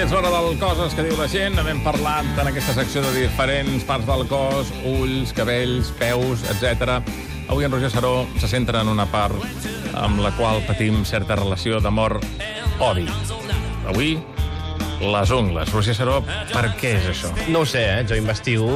És hora del coses que diu la gent. N'hem parlat en aquesta secció de diferents parts del cos, ulls, cabells, peus, etc. Avui en Roger Saró se centra en una part amb la qual patim certa relació d'amor-odi. Avui, les ungles. Roger Saró, per què és això? No ho sé, eh? jo investigo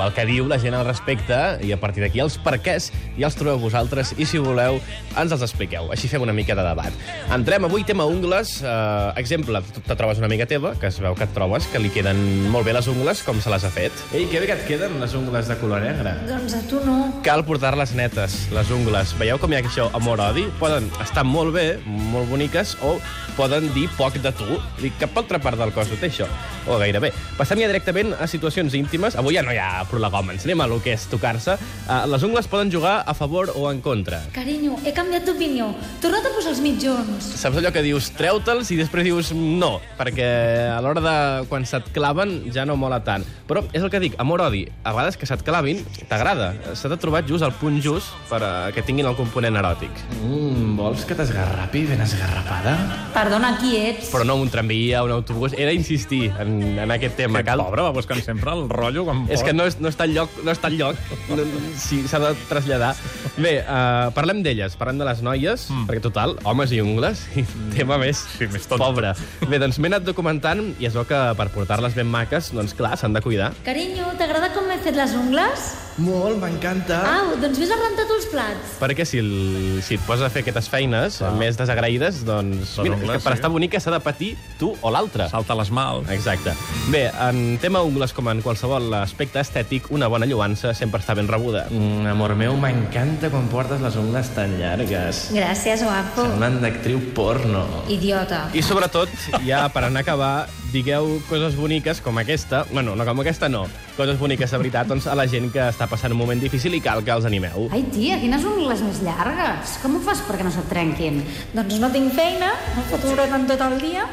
el que diu la gent al respecte i a partir d'aquí els perquès ja els trobeu vosaltres i, si voleu, ens els expliqueu. Així fem una mica de debat. Entrem avui, tema ungles. Eh, exemple, tu te trobes una amiga teva, que es veu que et trobes, que li queden molt bé les ungles, com se les ha fet. Ei, que bé que et queden les ungles de color negre. Doncs a tu no. Cal portar-les netes, les ungles. Veieu com hi ha això, amor-odi? Poden estar molt bé, molt boniques, o poden dir poc de tu. Dic, cap altra part del cos no té això, o gairebé. Passem ja directament a situacions íntimes. Avui ja no hi ha prolegòmens, anem a lo que és tocar-se. Uh, les ungles poden jugar a favor o en contra. Carinyo, he canviat d'opinió. Torna't a posar els mitjons. Saps allò que dius, treu-te'ls, i després dius no, perquè a l'hora de quan se't claven ja no mola tant. Però és el que dic, amor-odi. A vegades que se't clavin, t'agrada. S'ha de trobar just el punt just per a que tinguin el component eròtic. Mm, vols que t'esgarrapi ben esgarrapada? Perdona, qui ets? Però no un tramvia, un autobús... He d'insistir en, en aquest tema. Aquest pobre va buscant sempre el rotllo quan pot. És que no, és, no està enlloc, no està enlloc. No, sí, s'ha de traslladar. Bé, uh, parlem d'elles, parlem de les noies, mm. perquè total, homes i ungles, i tema més, Sí, més tonto. pobre. Bé, doncs m'he anat documentant i es veu que per portar-les ben maques, doncs clar, s'han de cuidar. Carinyo, t'agrada com m'he fet les ungles? Molt, m'encanta. Au, doncs vés a rentar tu els plats. Perquè si, el, si et poses a fer aquestes feines clar. més desagraïdes, doncs... Les Mira, ungles, és que per sí. estar bonica s'ha de patir tu o l'altre. Salta l'esmalt. Exacte. Bé, en tema ungles com en qualsevol aspecte estètic, una bona lloança sempre està ben rebuda. Mm, amor meu, m'encanta quan portes les ungles tan llargues. Gràcies, guapo. Semblen d'actriu porno. Idiota. I sobretot, ja per anar a acabar, digueu coses boniques com aquesta, bueno, no com aquesta no, coses boniques de veritat doncs, a la gent que està passant un moment difícil i cal que els animeu. Ai, tia, quines ungles més llargues. Com ho fas perquè no se't trenquin? Doncs no tinc feina, no puc durant tot el dia.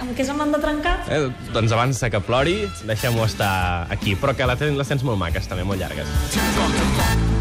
Amb què se m'han de trencar? Eh, doncs abans de que plori, deixem-ho estar aquí, però que la ten, les tens molt maques, també molt llargues.